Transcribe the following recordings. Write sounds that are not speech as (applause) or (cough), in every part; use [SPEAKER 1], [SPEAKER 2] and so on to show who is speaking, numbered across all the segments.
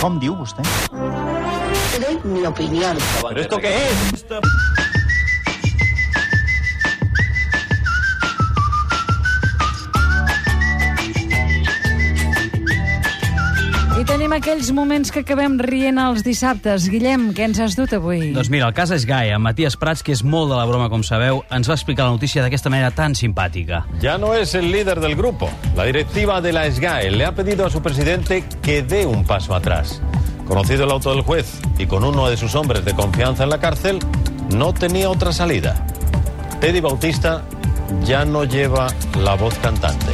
[SPEAKER 1] Com diu vostè?
[SPEAKER 2] Te doy mi opinión.
[SPEAKER 3] ¿Pero esto qué es?
[SPEAKER 4] I tenim aquells moments que acabem rient els dissabtes. Guillem, què ens has dut avui?
[SPEAKER 3] Doncs mira, el cas és Gaia. Matías Prats, que és molt de la broma, com sabeu, ens va explicar la notícia d'aquesta manera tan simpàtica.
[SPEAKER 5] Ya no es el líder del grupo. La directiva de la SGAE le ha pedido a su presidente que dé un paso atrás. Conocido el auto del juez y con uno de sus hombres de confianza en la cárcel, no tenía otra salida. Eddie Bautista ya no lleva la voz cantante.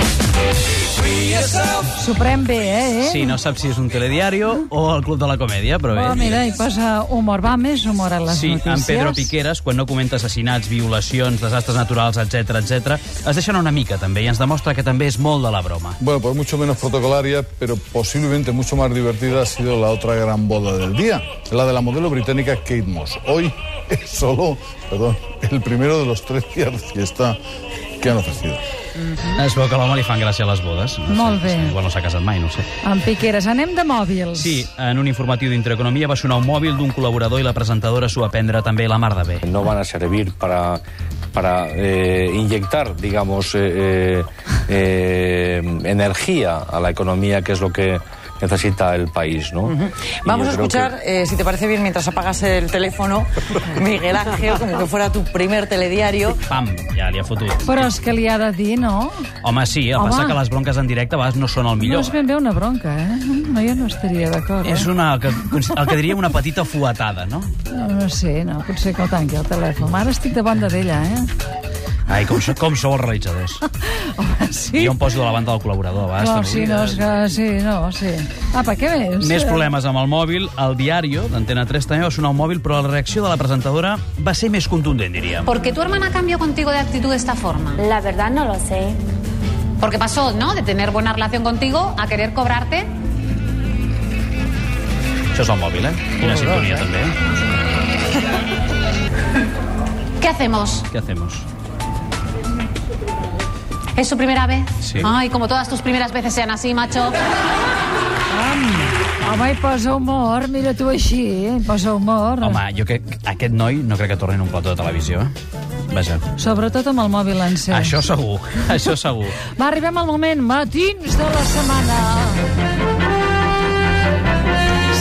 [SPEAKER 4] S'ho pren bé, eh? eh?
[SPEAKER 3] Sí, no saps si és un telediario o el Club de la Comèdia, però
[SPEAKER 4] Oh,
[SPEAKER 3] bé.
[SPEAKER 4] mira, hi posa humor. Va, més humor a les
[SPEAKER 3] Sí,
[SPEAKER 4] notícies.
[SPEAKER 3] en Pedro Piqueras, quan no comenta assassinats, violacions, desastres naturals, etc etc, es deixen una mica, també, i ens demostra que també és molt de la broma.
[SPEAKER 6] Bueno, pues mucho menos protocolaria, pero posiblemente mucho más divertida ha sido la otra gran boda del día, la de la modelo británica Kate Moss. Hoy es solo, perdón, el primero de los tres días de fiesta que han ofrecido.
[SPEAKER 3] Es veu que a l'home li fan gràcia les bodes. No
[SPEAKER 4] Molt
[SPEAKER 3] sé,
[SPEAKER 4] bé.
[SPEAKER 3] Sí, igual no s'ha casat mai, no ho sé.
[SPEAKER 4] En Piqueras, anem de mòbils.
[SPEAKER 3] Sí, en un informatiu d'Intereconomia va sonar un mòbil d'un col·laborador i la presentadora s'ho va prendre també la mar de bé.
[SPEAKER 7] no van a servir para, para eh, inyectar, digamos, eh, eh, eh, energía a la economía, que es lo que necesita el país, ¿no? Y
[SPEAKER 8] Vamos
[SPEAKER 7] yo creo que-
[SPEAKER 8] a escuchar, eh, si te parece bien, mientras apagas el teléfono,
[SPEAKER 9] (laughs)
[SPEAKER 8] Miguel Ángel, como que fuera tu primer telediario.
[SPEAKER 3] Pam, ja li ha fotut.
[SPEAKER 4] Però és que li ha de dir, no?
[SPEAKER 3] Home, sí, eh? el
[SPEAKER 4] Home.
[SPEAKER 3] passa que les bronques en directe a vegades no són el millor.
[SPEAKER 4] No és ben bé una bronca, eh? No, jo no estaria d'acord.
[SPEAKER 3] És
[SPEAKER 4] Eh?
[SPEAKER 3] una, el que, el que diria una petita fuetada, no?
[SPEAKER 4] No, no sé, no, potser que el tanqui el telèfon. Ara estic de banda d'ella,
[SPEAKER 3] (laughs)
[SPEAKER 4] eh?
[SPEAKER 3] Ai, com, so- com sou els realitzadors.
[SPEAKER 4] Home, sí.
[SPEAKER 3] Jo em poso de la banda del col·laborador, a vegades.
[SPEAKER 4] No,
[SPEAKER 3] te'n
[SPEAKER 4] sí, no, és
[SPEAKER 3] oblides.
[SPEAKER 4] que, sí, no, sí. Apa, què més?
[SPEAKER 3] eh. Més problemes amb el mòbil. El diario d'Antena 3 també va sonar un mòbil, però la reacció de la presentadora va ser més contundent, diríem.
[SPEAKER 10] ¿Por qué tu hermana cambió contigo de actitud de esta forma?
[SPEAKER 9] La verdad no lo sé.
[SPEAKER 10] Porque pasó, ¿no? De tener buena relación contigo a querer cobrarte.
[SPEAKER 3] Això és el mòbil, eh?
[SPEAKER 4] Oh,
[SPEAKER 3] Quina sintonia, també. eh?
[SPEAKER 10] ¿Qué hacemos?
[SPEAKER 3] Què hacemos?
[SPEAKER 10] ¿Es su primera vez?
[SPEAKER 3] Sí.
[SPEAKER 10] Ay, como todas tus primeras veces sean así, macho.
[SPEAKER 4] Home, hi posa humor, mira tu així, hi posa humor.
[SPEAKER 3] Home, jo crec que aquest noi no crec que torni en un plató de televisió, eh? Vaja.
[SPEAKER 4] Sobretot amb el mòbil encès.
[SPEAKER 3] Això segur, (laughs) això segur.
[SPEAKER 4] Va, arribem al moment matins de la setmana.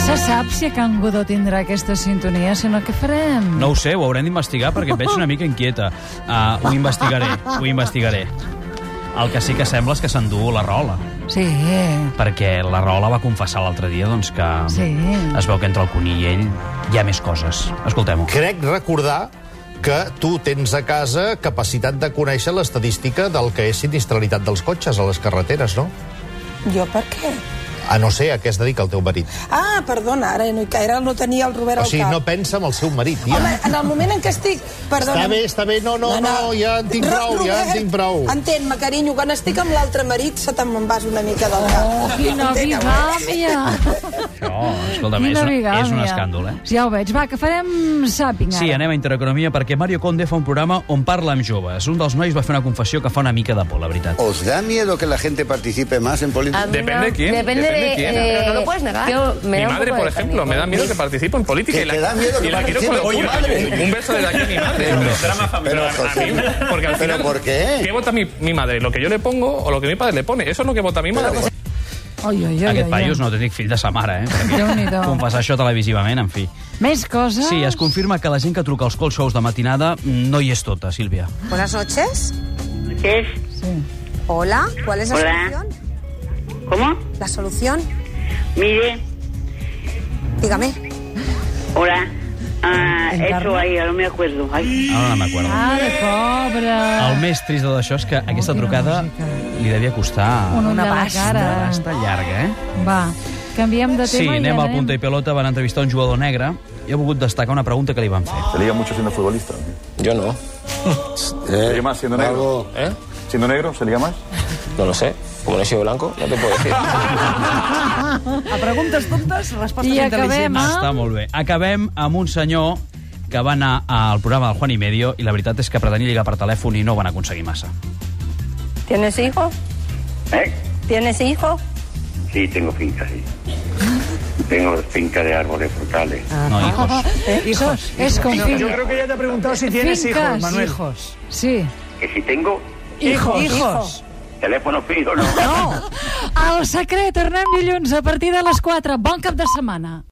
[SPEAKER 4] Se sap si a Can Godó tindrà aquesta sintonia, si no, què farem?
[SPEAKER 3] No ho sé, ho haurem d'investigar perquè em veig una mica inquieta. Uh, ho investigaré, ho investigaré. El que sí que sembla és que s'endú la rola,
[SPEAKER 4] Sí,
[SPEAKER 3] perquè la rola va confessar l'altre dia doncs, que
[SPEAKER 4] Sí.
[SPEAKER 3] es veu que entre el conill i ell hi ha més coses. Escoltem-ho.
[SPEAKER 11] Crec recordar que tu tens a casa capacitat de conèixer l'estadística del que és sinistralitat dels cotxes a les carreteres, no?
[SPEAKER 8] ¿Yo por qué?
[SPEAKER 11] A no ser a què es dedica el teu marit.
[SPEAKER 8] Ah, perdona, ara no, ara no tenia el Robert
[SPEAKER 11] O sigui, no pensa en el seu marit, tia.
[SPEAKER 8] Home, en el moment en què estic... Perdona.
[SPEAKER 11] Està bé, està bé, no, no, no, ja en tinc
[SPEAKER 8] Ro-
[SPEAKER 11] prou, ja en
[SPEAKER 8] Robert,
[SPEAKER 11] tinc prou.
[SPEAKER 8] Entén-me, carinyo, quan estic amb l'altre marit se te'n me'n vas una mica del cap.
[SPEAKER 4] Oh, quina
[SPEAKER 8] Entén-me.
[SPEAKER 4] bigàmia!
[SPEAKER 3] Això, escolta'm, és,
[SPEAKER 4] Quina
[SPEAKER 3] un-
[SPEAKER 4] bigàmia.
[SPEAKER 3] és un escàndol, eh?
[SPEAKER 4] Ja ho veig. Va, que farem sàping ara.
[SPEAKER 3] Sí, anem a Intereconomia perquè Mario Conde fa un programa on parla amb joves. Un dels nois va fer una confessió que fa una mica de por, la veritat.
[SPEAKER 2] ¿Os da miedo que la gente participe más en política?
[SPEAKER 9] Depende de quién. Depende, de, eh, no lo puedes negar. mi madre, por ejemplo, me da miedo que participe en política.
[SPEAKER 2] Que te da miedo que participe tu madre.
[SPEAKER 9] Un beso desde aquí a mi madre. drama
[SPEAKER 2] Pero,
[SPEAKER 9] familiar.
[SPEAKER 2] José,
[SPEAKER 9] porque al
[SPEAKER 2] ¿pero
[SPEAKER 9] final,
[SPEAKER 2] por qué?
[SPEAKER 9] ¿qué vota mi, mi madre? ¿Lo que yo le pongo o lo que mi padre le pone? Eso es lo que vota mi madre.
[SPEAKER 4] Oi, oi, oi,
[SPEAKER 3] Aquest
[SPEAKER 4] oi,
[SPEAKER 3] paio és
[SPEAKER 4] oi.
[SPEAKER 3] un autèntic fill de sa mare, eh? Perquè
[SPEAKER 4] Déu-n'hi-do.
[SPEAKER 3] Confessar això televisivament, en fi.
[SPEAKER 4] Més coses?
[SPEAKER 3] Sí, es confirma que la gent que truca als call shows de matinada no hi és tota, Sílvia.
[SPEAKER 8] Buenas noches.
[SPEAKER 4] Sí.
[SPEAKER 8] Hola, ¿cuál es la
[SPEAKER 10] Hola.
[SPEAKER 8] solución?
[SPEAKER 10] ¿Cómo?
[SPEAKER 8] La solución,
[SPEAKER 10] Mire,
[SPEAKER 8] dígame.
[SPEAKER 10] hola. Ah,
[SPEAKER 4] Encarna. eso
[SPEAKER 10] ahí, no me acuerdo.
[SPEAKER 3] Ara no m'acordo.
[SPEAKER 4] Ah, de pobre!
[SPEAKER 3] El més trist de tot això és que aquesta
[SPEAKER 4] quina
[SPEAKER 3] trucada
[SPEAKER 4] música.
[SPEAKER 3] li devia costar...
[SPEAKER 4] Un ull de la
[SPEAKER 3] basta,
[SPEAKER 4] cara.
[SPEAKER 3] Una basta llarga, eh?
[SPEAKER 4] Va, canviem de tema
[SPEAKER 3] Sí,
[SPEAKER 4] i
[SPEAKER 3] anem al punta i pelota, van entrevistar un jugador negre i ha volgut destacar una pregunta que li van fer.
[SPEAKER 6] ¿Te liga mucho siendo futbolista?
[SPEAKER 7] Yo no,
[SPEAKER 6] ¿Se liga más siendo negro?
[SPEAKER 7] ¿eh?
[SPEAKER 6] ¿Siendo negro se liga más?
[SPEAKER 7] No lo sé. Como no he sido blanco, no te puedo decir.
[SPEAKER 8] A preguntes tontes, respostes
[SPEAKER 4] I acabem,
[SPEAKER 3] Està
[SPEAKER 4] eh?
[SPEAKER 3] molt bé. Acabem amb un senyor que va anar al programa del Juan i Medio i la veritat és que pretenia lligar per telèfon i no ho van aconseguir massa.
[SPEAKER 9] ¿Tienes hijos? ¿Tienes hijos?
[SPEAKER 2] Sí, tengo finca, sí.
[SPEAKER 6] Tengo finca de árboles frutales.
[SPEAKER 4] Ah.
[SPEAKER 12] No, hijos.
[SPEAKER 4] (laughs) Eso es con
[SPEAKER 3] Yo, yo
[SPEAKER 4] finca.
[SPEAKER 3] creo que ella te ha preguntado si tienes
[SPEAKER 4] Fincas,
[SPEAKER 3] hijos, Manuel.
[SPEAKER 4] hijos. Sí.
[SPEAKER 6] Que si tengo
[SPEAKER 4] Hijos. Hijos.
[SPEAKER 6] teléfono fijo, no.
[SPEAKER 4] (laughs) El secret, tornem dilluns a partir de les 4. Bon cap de setmana.